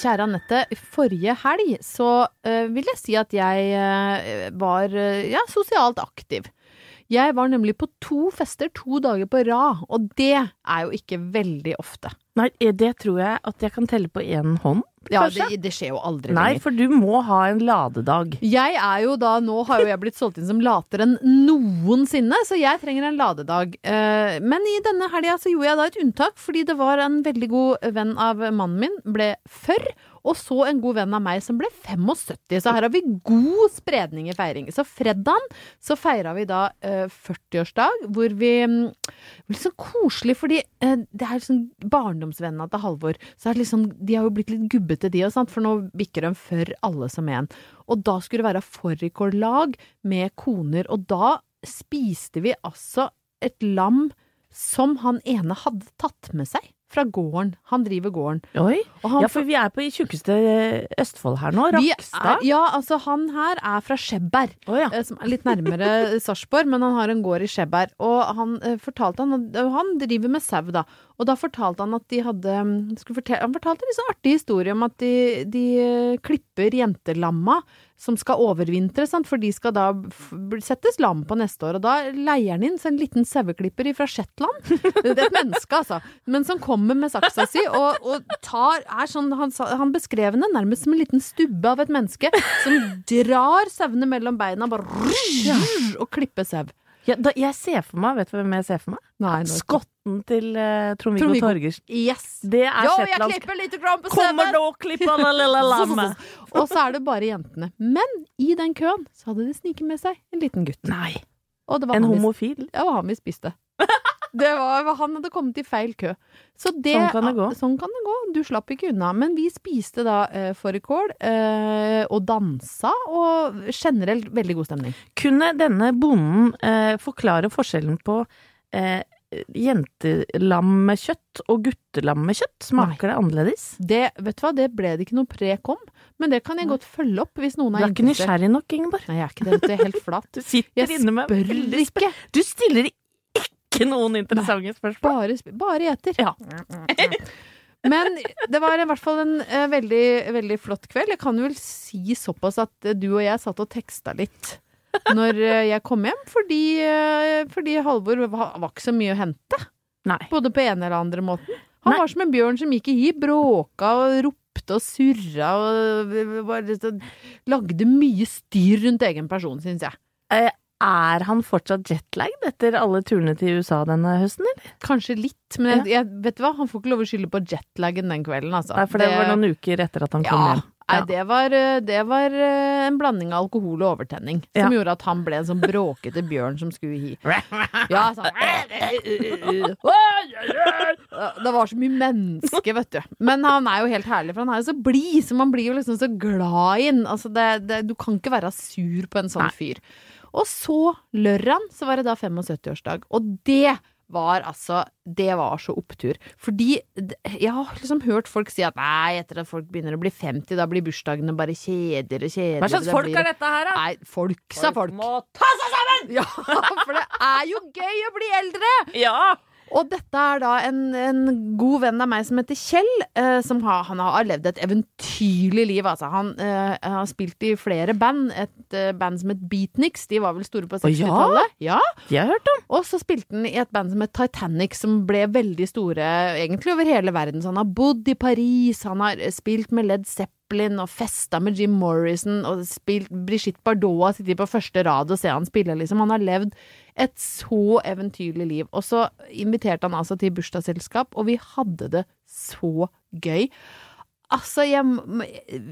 Speaker 4: Kjære Anette, forrige helg så eh, vil jeg si at jeg eh, var eh, ja, sosialt aktiv. Jeg var nemlig på to fester to dager på rad, og det er jo ikke veldig ofte.
Speaker 3: Nei, eh, det tror jeg at jeg kan telle på én hånd,
Speaker 4: Ja,
Speaker 3: kanskje.
Speaker 4: det, det skjer jo aldri
Speaker 3: Nei,
Speaker 4: lenger.
Speaker 3: for du må ha en ladedag.
Speaker 4: Jeg er jo da, nå har jo jeg blitt solgt inn som later enn noensinne, så jeg trenger en ladedag. Eh, Men i denne helga så gjorde jeg da et unntak, fordi det var en veldig god venn av mannen min, ble før, og så en god venn av meg som ble 75, så her har vi god spredning i feiring. Så fredagen så feira vi da eh, 40-årsdag, hvor vi mm, det var Litt sånn koselig, fordi eh, det er sånn barndomsvennene til Halvor. Så er det litt sånn, de har jo blitt litt gubbete, de og sant, for nå bikker de for alle som en. Og da skulle det være fårikållag med koner, og da spiste vi altså et lam som han ene hadde tatt med seg fra gården. Han driver gården.
Speaker 3: Oi.
Speaker 4: Og han
Speaker 3: ja, for vi er på i tjukkeste eh, Østfold her nå.
Speaker 4: Vi
Speaker 3: Rakstad.
Speaker 4: Er, ja, altså han her er fra Skjebberg, eh, som er litt nærmere Sarpsborg, men han har en gård i Skjebberg. Og han eh, fortalte han, og han driver med sau, da. Og da fortalte han at de hadde mm, skulle fortelle, Han fortalte en litt sånn artig historie om at de, de eh, klipper jentelamma som skal overvintre, sant? for de skal da f- bli- settes lam på neste år. Og da leier han inn så en liten saueklipper fra Shetland. Det er et menneske, altså. Men som kommer med saksa si og, og tar er sånn, han, sa- han beskrev henne nærmest som en liten stubbe av et menneske som drar sauene mellom beina bare, og klipper sau.
Speaker 3: Ja, da, jeg ser for meg, vet du hvem jeg ser for meg?
Speaker 4: Nei, nå-
Speaker 3: Skotten til eh, Trond-Viggo
Speaker 4: Trond-Viggo.
Speaker 3: Torgersen.
Speaker 4: Yes.
Speaker 3: Det er
Speaker 4: Jo, jeg
Speaker 3: shetlandsk.
Speaker 4: klipper lite grann på
Speaker 3: Kommer
Speaker 4: sauen.
Speaker 3: nå, klipper la lille lammet.
Speaker 4: Og så er det bare jentene. Men i den køen så hadde de sniket med seg en liten gutt.
Speaker 3: Nei.
Speaker 4: Og det var
Speaker 3: En
Speaker 4: han vi-
Speaker 3: homofil.
Speaker 4: Ja, det var han vi spiste. Det var, han hadde kommet i feil kø. Så det,
Speaker 3: Sånn kan det gå.
Speaker 4: Sånn kan det gå. Du slapp ikke unna. Men vi spiste da eh, fårikål eh, og dansa, og generelt veldig god stemning.
Speaker 3: Kunne denne bonden eh, forklare forskjellen på eh, jentelammekjøtt og guttelammekjøtt? Smaker det annerledes?
Speaker 4: Det, vet du hva, det ble det ikke noe prek om, men det kan jeg godt følge opp hvis noen
Speaker 3: Du
Speaker 4: er
Speaker 3: er ikke nysgjerrig nok, Ingeborg.
Speaker 4: Nei, jeg er ikke det. vet Du jeg er helt flat.
Speaker 3: Du sitter
Speaker 4: Jeg
Speaker 3: inne med
Speaker 4: spør
Speaker 3: veldig spe-
Speaker 4: ikke.
Speaker 3: Du stiller ikke noen interessante spørsmål.
Speaker 4: Bare, sp- bare gjeter. Men det var i hvert fall en eh, veldig, veldig flott kveld. Jeg kan vel si såpass at eh, du og jeg satt og teksta litt når eh, jeg kom hjem, fordi, eh, fordi Halvor var, var ikke så mye å hente.
Speaker 3: Nei.
Speaker 4: Både på ene eller andre måten. Han var som en bjørn som gikk i hi, bråka og ropte og surra og var litt sånn- lagde mye styr rundt egen person, syns jeg.
Speaker 3: Eh, er han fortsatt jetlagd etter alle turene til USA denne høsten, eller?
Speaker 4: Kanskje litt, men jeg, jeg, vet du hva, han får ikke lov å skylde på jetlagen den kvelden, altså.
Speaker 3: Nei, for det, var noen uker etter at han kom hjem.
Speaker 4: Nei, det var, eh, det var eh, en blanding av alkohol og overtenning som gjorde at han ble en sånn bråkete bjørn som skulle hi. Ja, sånn. Det var så mye menneske, vet du. Men han er jo helt herlig, for han er jo så blid, så man blir jo liksom så glad i han. Altså, det, det, du kan ikke være sur på en sånn fyr. Og så, lørdagen, så var det da 75-årsdag. Og det var altså Det var så opptur. Fordi d- jeg har liksom hørt folk si at nei, etter at folk begynner å bli 50, da blir bursdagene bare kjedeligere og kjedeligere.
Speaker 3: Hva slags
Speaker 4: Da
Speaker 3: folk
Speaker 4: blir det-
Speaker 3: er dette her, da?
Speaker 4: Nei, folk, sa folk.
Speaker 3: ta seg sammen!
Speaker 4: Ja, for det er jo gøy å bli eldre!
Speaker 3: Ja!
Speaker 4: Og dette er da en, en god venn av meg som heter Kjell. Eh, som har, han har levd et eventyrlig liv. Altså. Han eh, har spilt i flere band. Et eh, band som het Beatniks. De var vel store på
Speaker 3: Å, ja?
Speaker 4: 60-tallet. Ja?
Speaker 3: Jeg har hørt om.
Speaker 4: Og så spilte han i et band som het Titanic, som ble veldig store egentlig over hele verden. Så han har bodd i Paris, han har spilt med Led Zeppelin og festa med Jim Morrison og spilt Brigitte Bardot har sittet på første rad og ser han spille, liksom. Han har levd et så eventyrlig liv. Og så inviterte han altså til bursdagsselskap, og vi hadde det så gøy. Altså, jeg, m-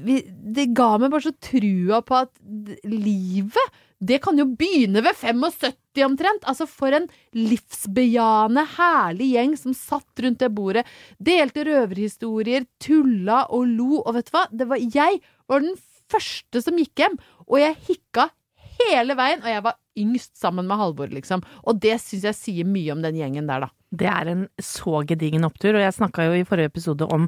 Speaker 4: vi, det ga meg bare så trua på at d- livet, det kan jo begynne ved 75 omtrent. Altså, for en livsbejaende, herlig gjeng som satt rundt det bordet, delte røverhistorier, tulla og lo, og vet du hva? Det var, jeg var den første som gikk hjem, og jeg hikka hele veien, og jeg var yngst sammen med Halvor, liksom. Og det syns jeg sier mye om den gjengen der, da.
Speaker 3: Det er en så gedigen opptur, og jeg snakka jo i forrige episode om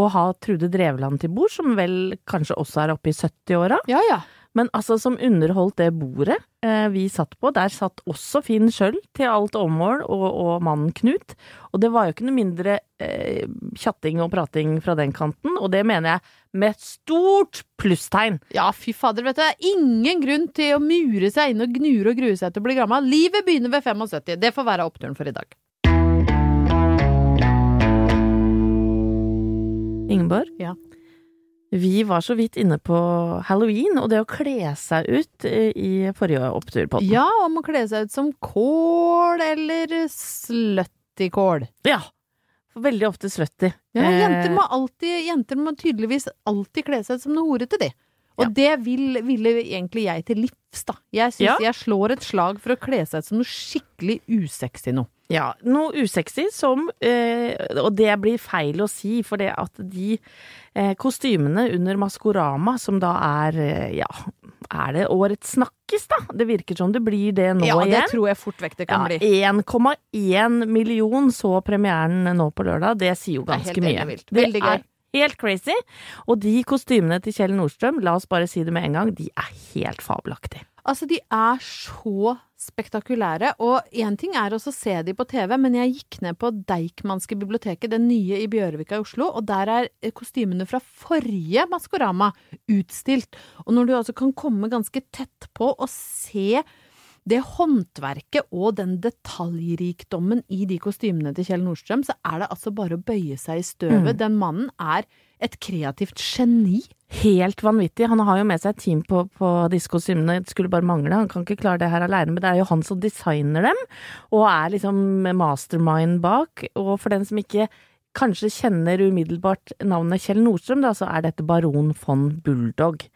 Speaker 3: å ha Trude Drevland til bord, som vel kanskje også er oppe i 70-åra.
Speaker 4: Ja, ja.
Speaker 3: Men altså, som underholdt det bordet eh, vi satt på, der satt også Finn Schjøll til alt ommål, og, og mannen Knut. Og det var jo ikke noe mindre eh, tjatting og prating fra den kanten, og det mener jeg med et stort plusstegn.
Speaker 4: Ja, fy fader, vet du. Det er ingen grunn til å mure seg inne og gnure og grue seg til å bli gammel. Livet begynner ved 75. Det får være oppturen for i dag.
Speaker 3: Ingeborg,
Speaker 4: Ja.
Speaker 3: vi var så vidt inne på halloween og det å kle seg ut eh, i forrige opptur på
Speaker 4: Ja, om å kle seg ut som kål eller slutty-kål.
Speaker 3: Ja. Veldig ofte slutty.
Speaker 4: Ja,
Speaker 3: Eh,
Speaker 4: jenter, må alltid, jenter må tydeligvis alltid kle seg ut som noe horete, de. Og det vil, ville egentlig jeg til livs, da. Jeg syns
Speaker 3: Ja.
Speaker 4: jeg slår et slag for å kle seg ut som noe skikkelig usexy nå.
Speaker 3: Ja, noe usexy som eh, Og det blir feil å si, for det at de eh, kostymene under Maskorama, som da er eh, Ja, er det årets snakkis, da? Det virker som det blir det nå
Speaker 4: ja,
Speaker 3: igjen.
Speaker 4: det tror jeg fort vekk det kan
Speaker 3: Ja,
Speaker 4: bli.
Speaker 3: 1,1 million så premieren nå på lørdag. Det sier jo
Speaker 4: Det er
Speaker 3: ganske
Speaker 4: helt
Speaker 3: mye.
Speaker 4: ellevilt.
Speaker 3: det
Speaker 4: Veldig gøy.
Speaker 3: er helt crazy. Og de kostymene til Kjell Nordstrøm, la oss bare si det med en gang, de er helt fabelaktige.
Speaker 4: Altså, de er så spektakulære, og én ting er også å se de på TV, men jeg gikk ned på Deichmanske biblioteket, det nye i Bjørvika i Oslo, og der er eh, kostymene fra forrige Maskorama utstilt. Og når du altså kan komme ganske tett på og se det håndverket og den detaljrikdommen i de kostymene til Kjell Nordstrøm, så er det altså bare å bøye seg i støvet.
Speaker 3: Mm.
Speaker 4: Den mannen er et kreativt geni.
Speaker 3: Helt vanvittig. Han har jo med seg et team på, på disse kostymene, det skulle bare mangle. Han kan ikke klare det her alene, men det er jo han som designer dem, og er liksom mastermind bak. Og for den som ikke kanskje kjenner umiddelbart navnet Kjell Nordstrøm, da, så er dette baron von Bulldog.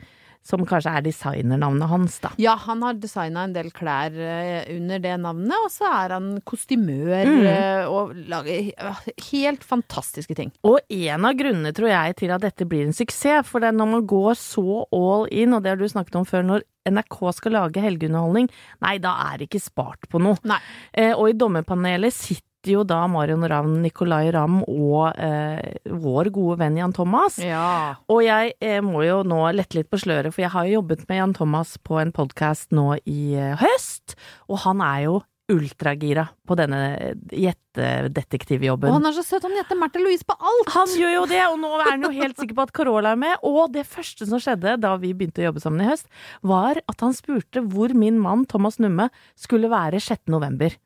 Speaker 3: Som kanskje er designernavnet hans, da.
Speaker 4: Ja, han har designa en del klær eh, under det navnet, og så er han kostymør
Speaker 3: Mm.
Speaker 4: eh, og lager he- ah, helt fantastiske ting.
Speaker 3: Og en av grunnene, tror jeg, til at dette blir en suksess, for det er når man går så all in, og det har du snakket om før, når NRK skal lage helgeunderholdning, nei, da er det ikke spart på noe. Eh, og i dommerpanelet sitter jo da Marion Ravn, Nicolay Ramm og eh, vår gode venn Jan Thomas. Og jeg eh, må jo nå lette litt på sløret, for jeg har jo jobbet med Jan Thomas på en podkast nå i eh, høst, og han er jo ultragira på denne eh,
Speaker 4: Og
Speaker 3: gjettedetektivjobben.
Speaker 4: han er så søt, han heter Märtha Louise på alt!
Speaker 3: Han gjør jo det, og nå er han jo helt sikker på at Carola er med. Og det første som skjedde da vi begynte å jobbe sammen i høst, var at han spurte hvor min mann Thomas Numme skulle være 6. november.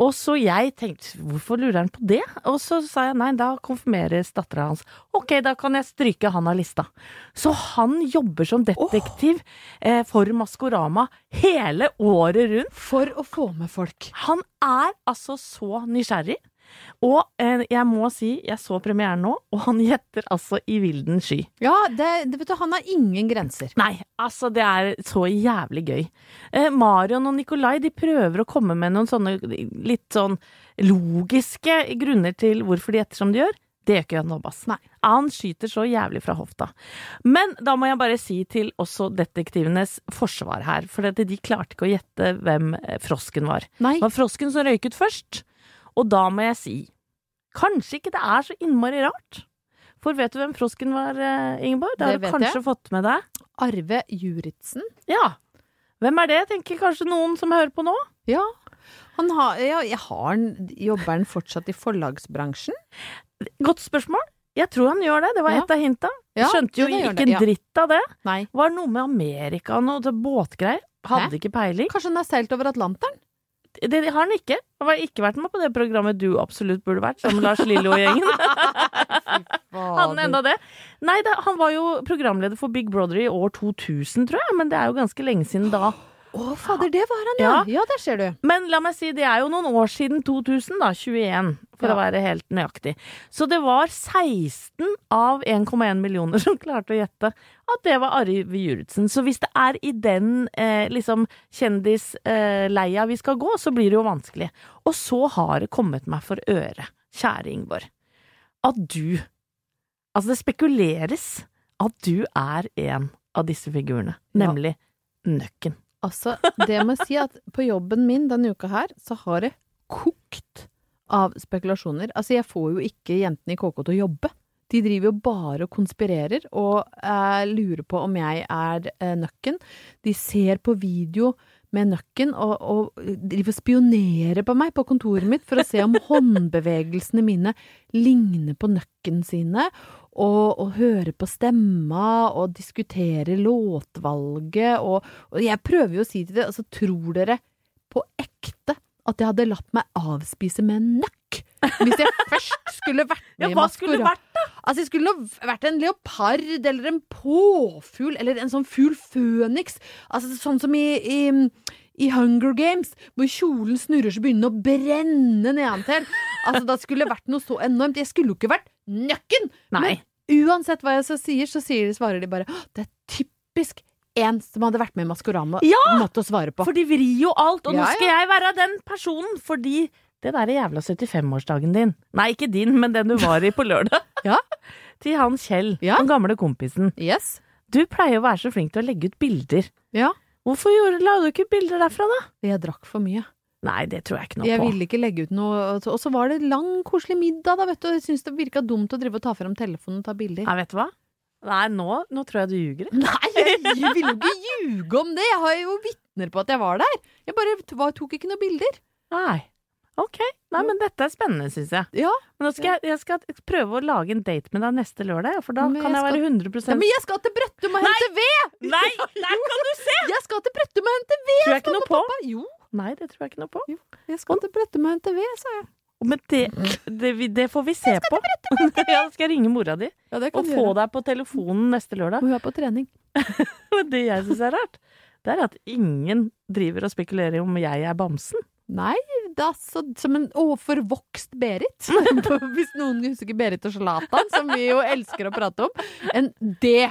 Speaker 3: Og så jeg tenkte, hvorfor lurer han på det? Og så sa jeg nei, da konfirmeres dattera hans. Ok, da kan jeg stryke han av lista. Så han jobber som detektiv eh, for Maskorama hele året rundt.
Speaker 4: For å få med folk.
Speaker 3: Han er altså så nysgjerrig. Og eh, jeg må si, jeg så premieren nå, og han gjetter altså i vilden sky.
Speaker 4: Ja, det, det vet du, han har ingen grenser.
Speaker 3: Nei, altså det er så jævlig gøy. Eh, Marion og Nikolai de prøver å komme med noen sånne litt sånn logiske grunner til hvorfor de gjetter som de gjør. Det gjør ikke Jan Hobbas. Han skyter så jævlig fra hofta. Men da må jeg bare si til også detektivenes forsvar her, for dette, de klarte ikke å gjette hvem eh, frosken var. Det var frosken som røyket først. Og da må jeg si, kanskje ikke det er så innmari rart. For vet du hvem frosken var, eh, Ingeborg? Det har
Speaker 4: Det
Speaker 3: du
Speaker 4: vet
Speaker 3: kanskje
Speaker 4: jeg.
Speaker 3: fått med deg.
Speaker 4: Arve Juritzen.
Speaker 3: Ja. Hvem er det, tenker kanskje noen som hører på nå?
Speaker 4: Ja. Han har, ja, jeg har han, jobber han fortsatt i forlagsbransjen?
Speaker 3: Godt spørsmål. Jeg tror han gjør det. Det var
Speaker 4: Ja.
Speaker 3: et av hinta.
Speaker 4: Ja,
Speaker 3: Skjønte jo
Speaker 4: det gjør
Speaker 3: ikke
Speaker 4: det,
Speaker 3: en
Speaker 4: ja.
Speaker 3: dritt av det.
Speaker 4: Nei.
Speaker 3: Var noe med Amerika og noe båtgreier. Hadde ikke peiling.
Speaker 4: Kanskje han har seilt over Atlanteren?
Speaker 3: Det har han ikke. Han har ikke vært med på det programmet du absolutt burde vært, som Lars Lillo og gjengen. Hadde han enda det? Nei, det, han var jo programleder for Big Brother i år 2000, tror jeg, men det er jo ganske lenge siden da.
Speaker 4: Å, fader, det var han, ja!
Speaker 3: Ja.
Speaker 4: Ja, der ser du.
Speaker 3: Men la meg si, det er jo noen år siden 2000, da. 21, for
Speaker 4: Ja.
Speaker 3: å være helt nøyaktig. Så det var 16 av 1,1 millioner som klarte å gjette at det var Arve Juritzen. Så hvis det er i den eh, liksom kjendisleia eh, leia vi skal gå, så blir det jo vanskelig. Og så har det kommet meg for øre, kjære Ingeborg, at du Altså, det spekuleres at du er en av disse figurene, nemlig Nøkken.
Speaker 4: Altså, det må jeg si at på jobben min denne uka her, så har det kokt av spekulasjoner. Altså, jeg får jo ikke jentene i KK til å jobbe. De driver jo bare og konspirerer og eh, lurer på om jeg er eh, nøkken. De ser på video med nøkken og, og driver og spionerer på meg på kontoret mitt for å se om håndbevegelsene mine ligner på nøkken sine. Og, og hører på stemma og diskuterer låtvalget og, og Jeg prøver jo å si til dem altså, tror dere på ekte at jeg hadde latt meg avspise med en nøkk hvis jeg først skulle vært med
Speaker 3: Ja,
Speaker 4: i
Speaker 3: hva skulle
Speaker 4: Maskorama?
Speaker 3: det vært,
Speaker 4: Altså, jeg skulle nå v- vært en leopard eller en påfugl eller en sånn fugl føniks. Altså, sånn som i, i, i Hunger Games, hvor kjolen snurrer så begynner den å brenne nedantil. Altså, da skulle det vært noe så enormt. Jeg skulle jo ikke vært nøkken!
Speaker 3: Nei.
Speaker 4: Men uansett hva jeg så sier, så sier, svarer de bare «Å, det er typisk en som hadde vært med i Maskorama,
Speaker 3: Ja!
Speaker 4: måtte å svare på.
Speaker 3: For de vrir jo alt, og nå
Speaker 4: Ja, ja.
Speaker 3: skal jeg være den personen, fordi det derre jævla 75-årsdagen din Nei, ikke din, men den du var i på lørdag. Til han Kjell, den gamle kompisen. Du pleier å være så flink til å legge ut bilder. Hvorfor gjorde, la du ikke ut bilder derfra, da?
Speaker 4: Jeg drakk for mye.
Speaker 3: Nei, det tror jeg ikke noe
Speaker 4: Jeg
Speaker 3: på.
Speaker 4: ville ikke legge ut noe altså, Og så var det lang, koselig middag, da, vet du. og Jeg syns det virka dumt å drive og ta frem telefonen og ta bilder.
Speaker 3: Nei, vet du hva? Nei, nå, nå tror jeg du ljuger.
Speaker 4: Nei, jeg ville jo ikke ljuge om det! Jeg har jo vitner på at jeg var der. Jeg bare t- var- tok ikke noen bilder.
Speaker 3: Nei. Ok. Nei, men dette er spennende, syns jeg. Men nå skal jeg, jeg skal prøve å lage en date med deg neste lørdag, ja, for da
Speaker 4: Men
Speaker 3: kan jeg
Speaker 4: jeg
Speaker 3: være
Speaker 4: skal-
Speaker 3: 100
Speaker 4: Ja, men jeg skal til Brøttum og hente ved!
Speaker 3: Nei, der kan du se!
Speaker 4: Jeg skal til Brøttum og hente ved!
Speaker 3: Tror jeg ikke
Speaker 4: mamma
Speaker 3: noe
Speaker 4: og
Speaker 3: på.
Speaker 4: pappa. Jo,
Speaker 3: Nei, det tror jeg ikke noe på.
Speaker 4: jeg skal til Brøttum og hente ved, sa jeg.
Speaker 3: Men det, det, vi- det får vi se på. Ja, skal jeg ringe mora di
Speaker 4: kan
Speaker 3: og
Speaker 4: du
Speaker 3: få
Speaker 4: gjøre.
Speaker 3: deg på telefonen neste lørdag.
Speaker 4: Hun er på trening.
Speaker 3: Men det jeg syns er rart, det er at ingen driver og spekulerer i om jeg er bamsen.
Speaker 4: Nei, det er så, som en overvokst Berit. Hvis noen husker Berit og Zlatan, som vi jo elsker å prate om. En det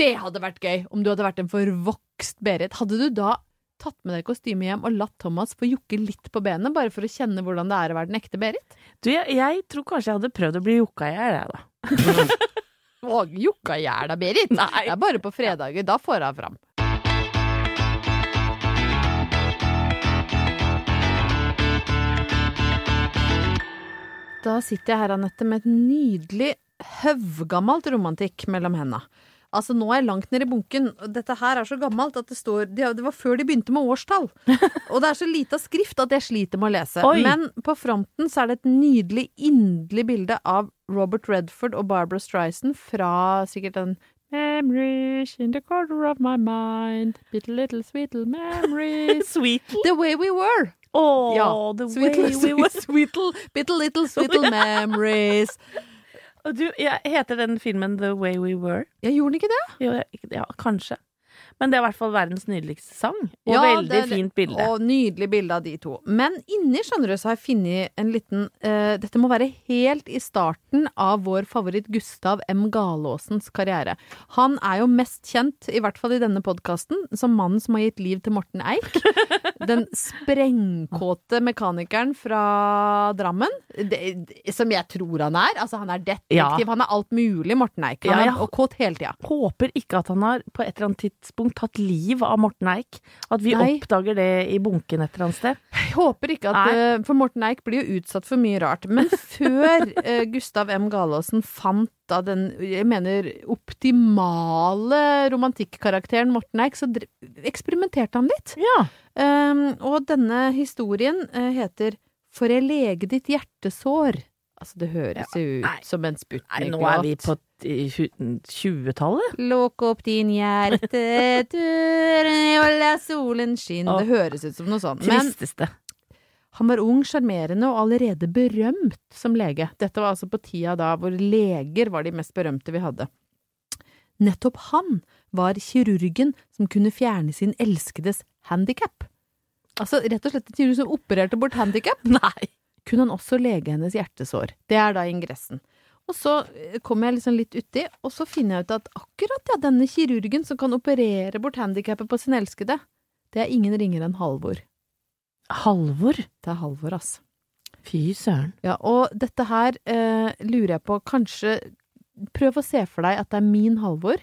Speaker 4: Det hadde vært gøy om du hadde vært en forvokst Berit. Hadde du da tatt med deg kostymet hjem og latt Thomas få jukke litt på benet, bare for å kjenne hvordan det er å være den ekte Berit?
Speaker 3: Du, jeg, jeg tror kanskje jeg hadde prøvd å bli jukka i hjel, jeg, da.
Speaker 4: Å, jukka i hjel da, Berit? Nei. Det er bare på fredager. Da får hun fram. Da sitter jeg her, Anette, med et nydelig høvgammelt romantikk mellom henda. Altså, nå er jeg langt nede i bunken. Dette her er så gammelt at det står de- Det var før de begynte med årstall. Og det er så lite av skrift at jeg sliter med å lese.
Speaker 3: Oi.
Speaker 4: Men på fronten så er det et nydelig, inderlig bilde av Robert Redford og Barbara Strison fra sikkert den Memories in the corner of my mind. Bitte little sweet little memories. The way we were.
Speaker 3: Åh,
Speaker 4: Ja.
Speaker 3: the
Speaker 4: Sweet
Speaker 3: way
Speaker 4: little-
Speaker 3: we were.
Speaker 4: sweet little, bitte little sweet little memories.
Speaker 3: Og du, jeg, heter den filmen The Way We Were?
Speaker 4: Jeg gjorde den ikke det?
Speaker 3: Jo, jeg, ja, kanskje. Men det er i hvert fall verdens nydeligste sang. Og veldig
Speaker 4: det er-
Speaker 3: fint bilde.
Speaker 4: Og nydelig bilde av de to. Men inni skjønner du, så har jeg funnet en liten eh, Dette må være helt i starten av vår favoritt Gustav M. Galåsens karriere. Han er jo mest kjent, i hvert fall i denne podkasten, som mannen som har gitt liv til Morten Eik. Den sprengkåte mekanikeren fra Drammen. Det, det- som jeg tror han er. Altså, han er
Speaker 3: Ja.
Speaker 4: detektiv. Han er alt mulig, Morten Eik. Han
Speaker 3: Ja,
Speaker 4: er
Speaker 3: ja.
Speaker 4: og kåt hele tida.
Speaker 3: Håper ikke at han har på et eller annet tidspunkt tatt liv av Morten Eik. At vi
Speaker 4: Nei.
Speaker 3: oppdager det i bunken et eller annet sted.
Speaker 4: Jeg håper ikke at eh, For Morten Eik blir jo utsatt for mye rart. Men før eh, Gustav M. Galaasen fant da den jeg mener, optimale romantikkarakteren Morten Eik, så dr- eksperimenterte han litt. Ehm, og denne historien eh, heter Får jeg lege ditt hjertesår? Altså, det høres jo ut som en
Speaker 3: Nei,
Speaker 4: sputnik
Speaker 3: nå er vi på t- i hu- 20-tallet.
Speaker 4: Lukk opp din hjertedør, og la solen skinne. Det høres ut som noe sånt. Men
Speaker 3: Tristeste.
Speaker 4: han var ung, sjarmerende og allerede berømt som lege. Dette var altså på tida da hvor leger var de mest berømte vi hadde. Nettopp han var kirurgen som kunne fjerne sin elskedes handikap. Altså rett og slett en kirurg som opererte bort handikap?
Speaker 3: Nei.
Speaker 4: Kunne han også lege hennes hjertesår? Det er da ingressen. Og så eh, kommer jeg liksom litt uti, og så finner jeg ut at akkurat ja, denne kirurgen som kan operere bort handikappet på sin elskede, det er ingen ringere enn Halvor.
Speaker 3: Halvor?
Speaker 4: Det er Halvor, ass.
Speaker 3: Fy søren.
Speaker 4: Ja, og dette her eh, lurer jeg på, kanskje Prøv å se for deg at det er min Halvor,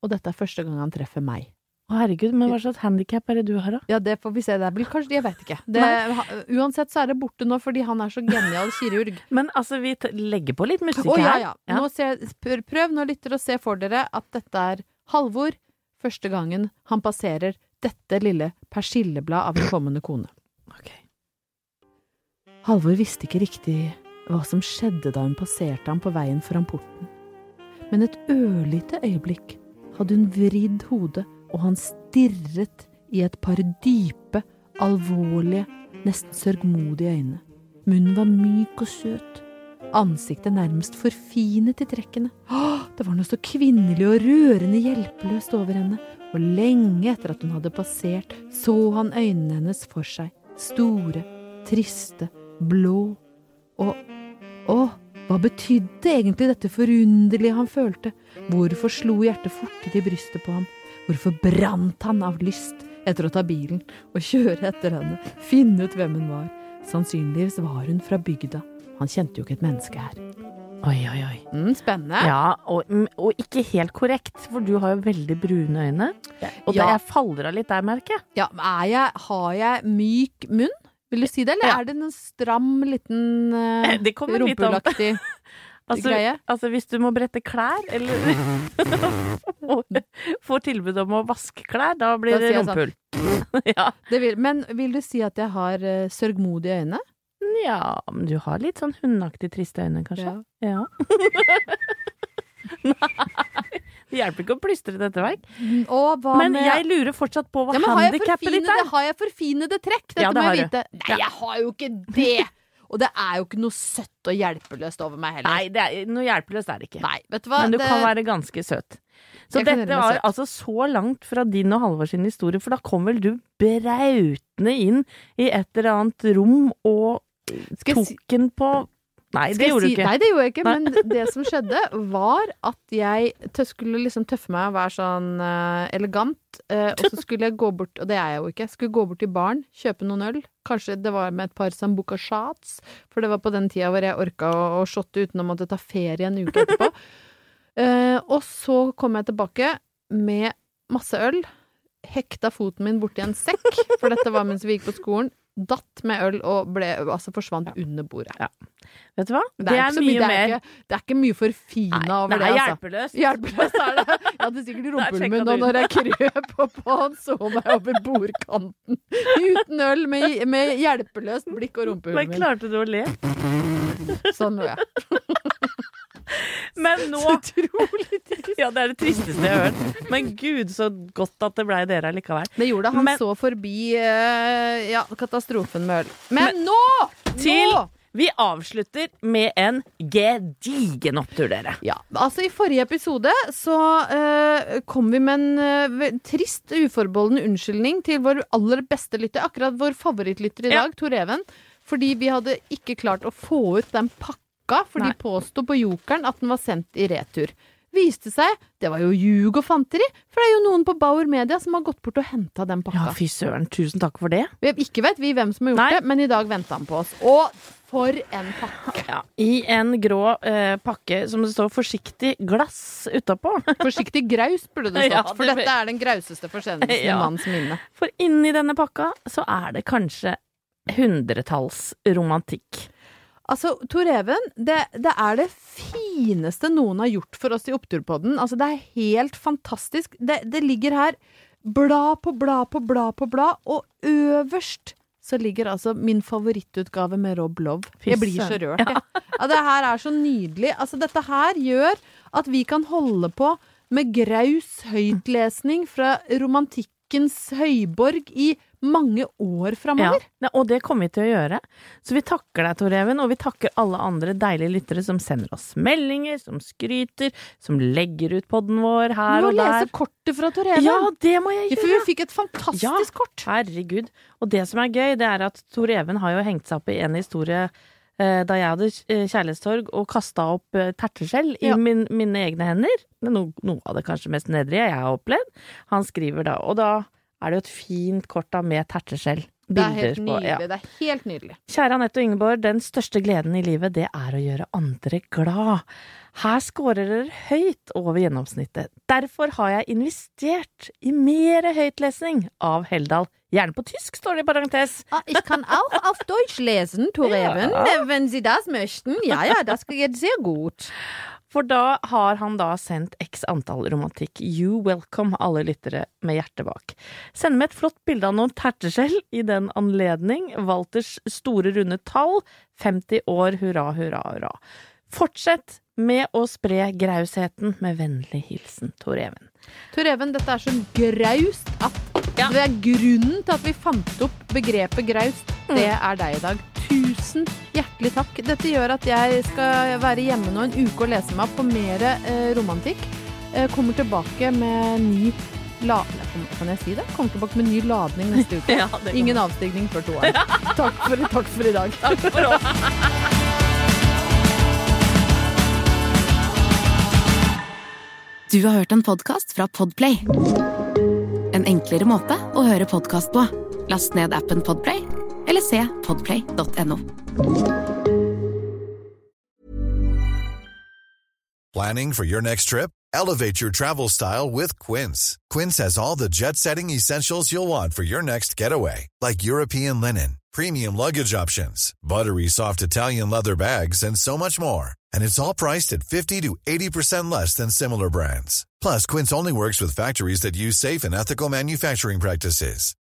Speaker 4: og dette er første gang han treffer meg.
Speaker 3: Å herregud, men hva slags handikap er det du har, da?
Speaker 4: Ja, det får vi se. Det er vel kanskje Jeg vet ikke. Det,
Speaker 3: Nei.
Speaker 4: ha- uansett så er det borte nå fordi han er så genial kirurg.
Speaker 3: Men altså, vi t- legger på litt musikk
Speaker 4: Å, ja,
Speaker 3: her.
Speaker 4: ja. Nå ser, pr- prøv nå, lytter, å se for dere at dette er Halvor første gangen han passerer dette lille persillebladet av en kommende kone. Halvor visste ikke riktig hva som skjedde da hun passerte ham på veien foran porten. Men et ørlite øyeblikk hadde hun vridd hodet, og han stirret i et par dype, alvorlige, nesten sørgmodige øyne. Munnen var myk og søt, ansiktet nærmest forfinet i trekkene. Åh, det var noe så kvinnelig og rørende hjelpeløst over henne, og lenge etter at hun hadde passert, så han øynene hennes for seg, store, triste, blå, og Å, hva betydde egentlig dette forunderlige han følte? Hvorfor slo hjertet fortere i brystet på ham? Hvorfor brant han av lyst etter å ta bilen og kjøre etter henne, finne ut hvem hun var? Sannsynligvis var hun fra bygda. Han kjente jo ikke et menneske her.
Speaker 3: Oi, oi, oi.
Speaker 4: Mm, spennende.
Speaker 3: Ja, og, mm, og ikke helt korrekt, for du har jo veldig brune øyne. Og det,
Speaker 4: Ja.
Speaker 3: jeg faller av litt der, merker jeg.
Speaker 4: Ja, men er jeg, har jeg myk munn? Vil du si det, eller er det en stram liten uh,
Speaker 3: Det kommer litt an på.
Speaker 4: rumpelaktig
Speaker 3: Altså,
Speaker 4: greie?
Speaker 3: altså hvis du må brette klær, eller får tilbud om å vaske klær, da blir
Speaker 4: Da
Speaker 3: det
Speaker 4: sier jeg sånn.
Speaker 3: rumpehull.
Speaker 4: Det vil, men vil du si at jeg har eh, sørgmodige øyne?
Speaker 3: Ja, men du har litt sånn hundeaktig triste øyne, kanskje. Ja. Nei, det hjelper ikke å plystre dette vekk.
Speaker 4: Og hva
Speaker 3: Men
Speaker 4: med
Speaker 3: jeg lurer fortsatt på hva
Speaker 4: ja, men har jeg
Speaker 3: handikappet ditt
Speaker 4: forfinede-
Speaker 3: er.
Speaker 4: Har jeg forfinede trekk? Dette
Speaker 3: Ja, det
Speaker 4: må jeg
Speaker 3: har du.
Speaker 4: vite. Nei, jeg har jo ikke det! Og det er jo ikke noe søtt og hjelpeløst over meg heller.
Speaker 3: Nei, det er, noe hjelpeløst er det ikke.
Speaker 4: Nei, vet du hva?
Speaker 3: Men du
Speaker 4: Det-
Speaker 3: kan være ganske søt. Så
Speaker 4: Jeg kan gjøre
Speaker 3: dette
Speaker 4: meg
Speaker 3: var
Speaker 4: søt.
Speaker 3: altså så langt fra din og Halvor sin historie, for da kom vel du brautende inn i et eller annet rom og
Speaker 4: Skal jeg
Speaker 3: tok
Speaker 4: si-
Speaker 3: den på Nei,
Speaker 4: Skal
Speaker 3: det
Speaker 4: jeg
Speaker 3: gjorde
Speaker 4: si-
Speaker 3: du ikke.
Speaker 4: Nei, det gjorde jeg ikke.
Speaker 3: Nei.
Speaker 4: Men det som skjedde, var at jeg tø skulle liksom tøffe meg og være sånn eh, elegant. eh, og så skulle jeg gå bort, og det er jeg jo ikke, jeg skulle gå bort til baren, kjøpe noen øl. Kanskje det var med et par sambuca shots, for det var på den tida hvor jeg orka å, å shotte uten å måtte ta ferie en uke etterpå. Eh, og så kom jeg tilbake med masse øl. Hekta foten min borti en sekk, for dette var mens vi gikk på skolen. Datt med øl og ble, altså forsvant under bordet.
Speaker 3: Vet du hva?
Speaker 4: Det er,
Speaker 3: Det
Speaker 4: ikke
Speaker 3: er
Speaker 4: så mye,
Speaker 3: mye
Speaker 4: det, er
Speaker 3: mer.
Speaker 4: ikke, det er ikke mye forfina over
Speaker 3: det er
Speaker 4: altså.
Speaker 3: hjelpeløst.
Speaker 4: Hjelpeløst er det. Jeg hadde sikkert rumpehullet
Speaker 3: sjekka
Speaker 4: min da
Speaker 3: du.
Speaker 4: når jeg krøp opp, og han så meg over bordkanten. Uten øl, med, med hjelpeløst blikk og rumpehullet
Speaker 3: Men
Speaker 4: min.
Speaker 3: klarte du å le?
Speaker 4: Sånn lo jeg.
Speaker 3: Men nå Ja, det er det tristeste jeg har hørt. Men gud, så godt at det blei dere allikevel.
Speaker 4: Det gjorde han
Speaker 3: Men-
Speaker 4: så forbi eh, ja, katastrofen med øl. Men, nå!
Speaker 3: Til
Speaker 4: nå!
Speaker 3: vi avslutter med en gedigen opptur, dere.
Speaker 4: Ja. Altså, I forrige episode så eh, kom vi med en eh, ve- trist, uforbeholden unnskyldning til vår aller beste lytter, akkurat vår favorittlytter i dag, Tor Even, fordi vi hadde ikke klart å få ut den pakka, for de påsto på Jokeren at den var sendt i retur. Viste seg, det var jo ljug og fanteri, for det er jo noen på Bauer Media som har gått bort og henta den pakka.
Speaker 3: Ja, fy søren. Tusen takk for det.
Speaker 4: Vi ikke vet vi hvem som har gjort det, men i dag venta han på oss. Og for en pakke!
Speaker 3: I en grå eh, pakke som det står 'forsiktig glass' utapå.
Speaker 4: Forsiktig graus, burde det stått,
Speaker 3: Ja,
Speaker 4: for
Speaker 3: det-
Speaker 4: dette er den grauseste forsendelsen i
Speaker 3: Ja.
Speaker 4: manns minne.
Speaker 3: For inni denne pakka så er det kanskje hundretalls romantikk.
Speaker 4: Altså, Tor Even, det, det er det fineste noen har gjort for oss i Oppturpodden. Altså, det er helt fantastisk. Det, det ligger her blad på blad på blad på blad, og øverst så ligger altså min favorittutgave med Rob Love.
Speaker 3: Fy
Speaker 4: Jeg blir så
Speaker 3: søren.
Speaker 4: rørt, jeg. Ja, det her er så nydelig. Altså, dette her gjør at vi kan holde på med graus høytlesning fra romantikkens høyborg i mange år framover.
Speaker 3: Ja, og det kommer vi til å gjøre. Så vi takker deg, Tor Even, og vi takker alle andre deilige lyttere som sender oss meldinger, som skryter, som legger ut podden vår her
Speaker 4: Du må
Speaker 3: og der.
Speaker 4: lese kortet fra Tor Even.
Speaker 3: Ja, det må jeg
Speaker 4: Ja,
Speaker 3: gjøre!
Speaker 4: for vi fikk et fantastisk
Speaker 3: ja, kort. Herregud. Og det som er gøy, det er at Tor Even har jo hengt seg opp i en historie eh, da jeg hadde eh, kjærlighetssorg og kasta opp eh, terteskjell i
Speaker 4: Ja.
Speaker 3: min, mine egne hender. Det er No, noe av det kanskje mest nedrige jeg har opplevd. Han skriver da, og da er det jo et fint kort da med terteskjell.
Speaker 4: Det er helt
Speaker 3: Bilder på,
Speaker 4: nydelig.
Speaker 3: ja.
Speaker 4: Det er helt nydelig.
Speaker 3: Kjære Anette og Ingeborg, den største gleden i livet det er å gjøre andre glad. Her scorer dere høyt over gjennomsnittet. Derfor har jeg investert i mer høytlesning av Heldal. Gjerne på tysk, står det i parentes.
Speaker 4: ich kann auch auf Deutsch lesen, Tor Even, wenn Sie das möchten. Ja, ja, das geht sehr gut.
Speaker 3: For da har han da sendt x antall romantikk. You welcome alle lyttere med hjertet bak. Send meg et flott bilde av noen terteskjell i den anledning. Walters store, runde tall. 50 år, hurra, hurra, hurra. Fortsett med å spre grausheten med vennlig hilsen Tor Even.
Speaker 4: Tor Even, dette er så graust at det er grunnen til at vi fant opp begrepet graust.
Speaker 3: Mm.
Speaker 4: Det er deg i dag. Tusen hjertelig takk. Dette gjør at jeg skal være hjemme nå en uke og lese meg opp på mer eh, romantikk. Eh, kommer tilbake med ny la Kan- Kan jeg si det? Kommer tilbake med ny ladning neste uke.
Speaker 3: Ja, det kan
Speaker 4: Ingen avstigning før to år. Takk for, takk for i dag. Takk
Speaker 3: for oss.
Speaker 2: Du har hørt en podcast fra Podplay En enklere måte å høre podcast på Last ned appen Podplay Eller se podplay.no
Speaker 5: Planning for your next trip? Elevate your travel style with Quince. Quince has all the jet setting essentials you'll want for your next getaway, like European linen, premium luggage options, buttery soft Italian leather bags, and so much more. And it's all priced at 50 to 80% less than similar brands. Plus, Quince only works with factories that use safe and ethical manufacturing practices.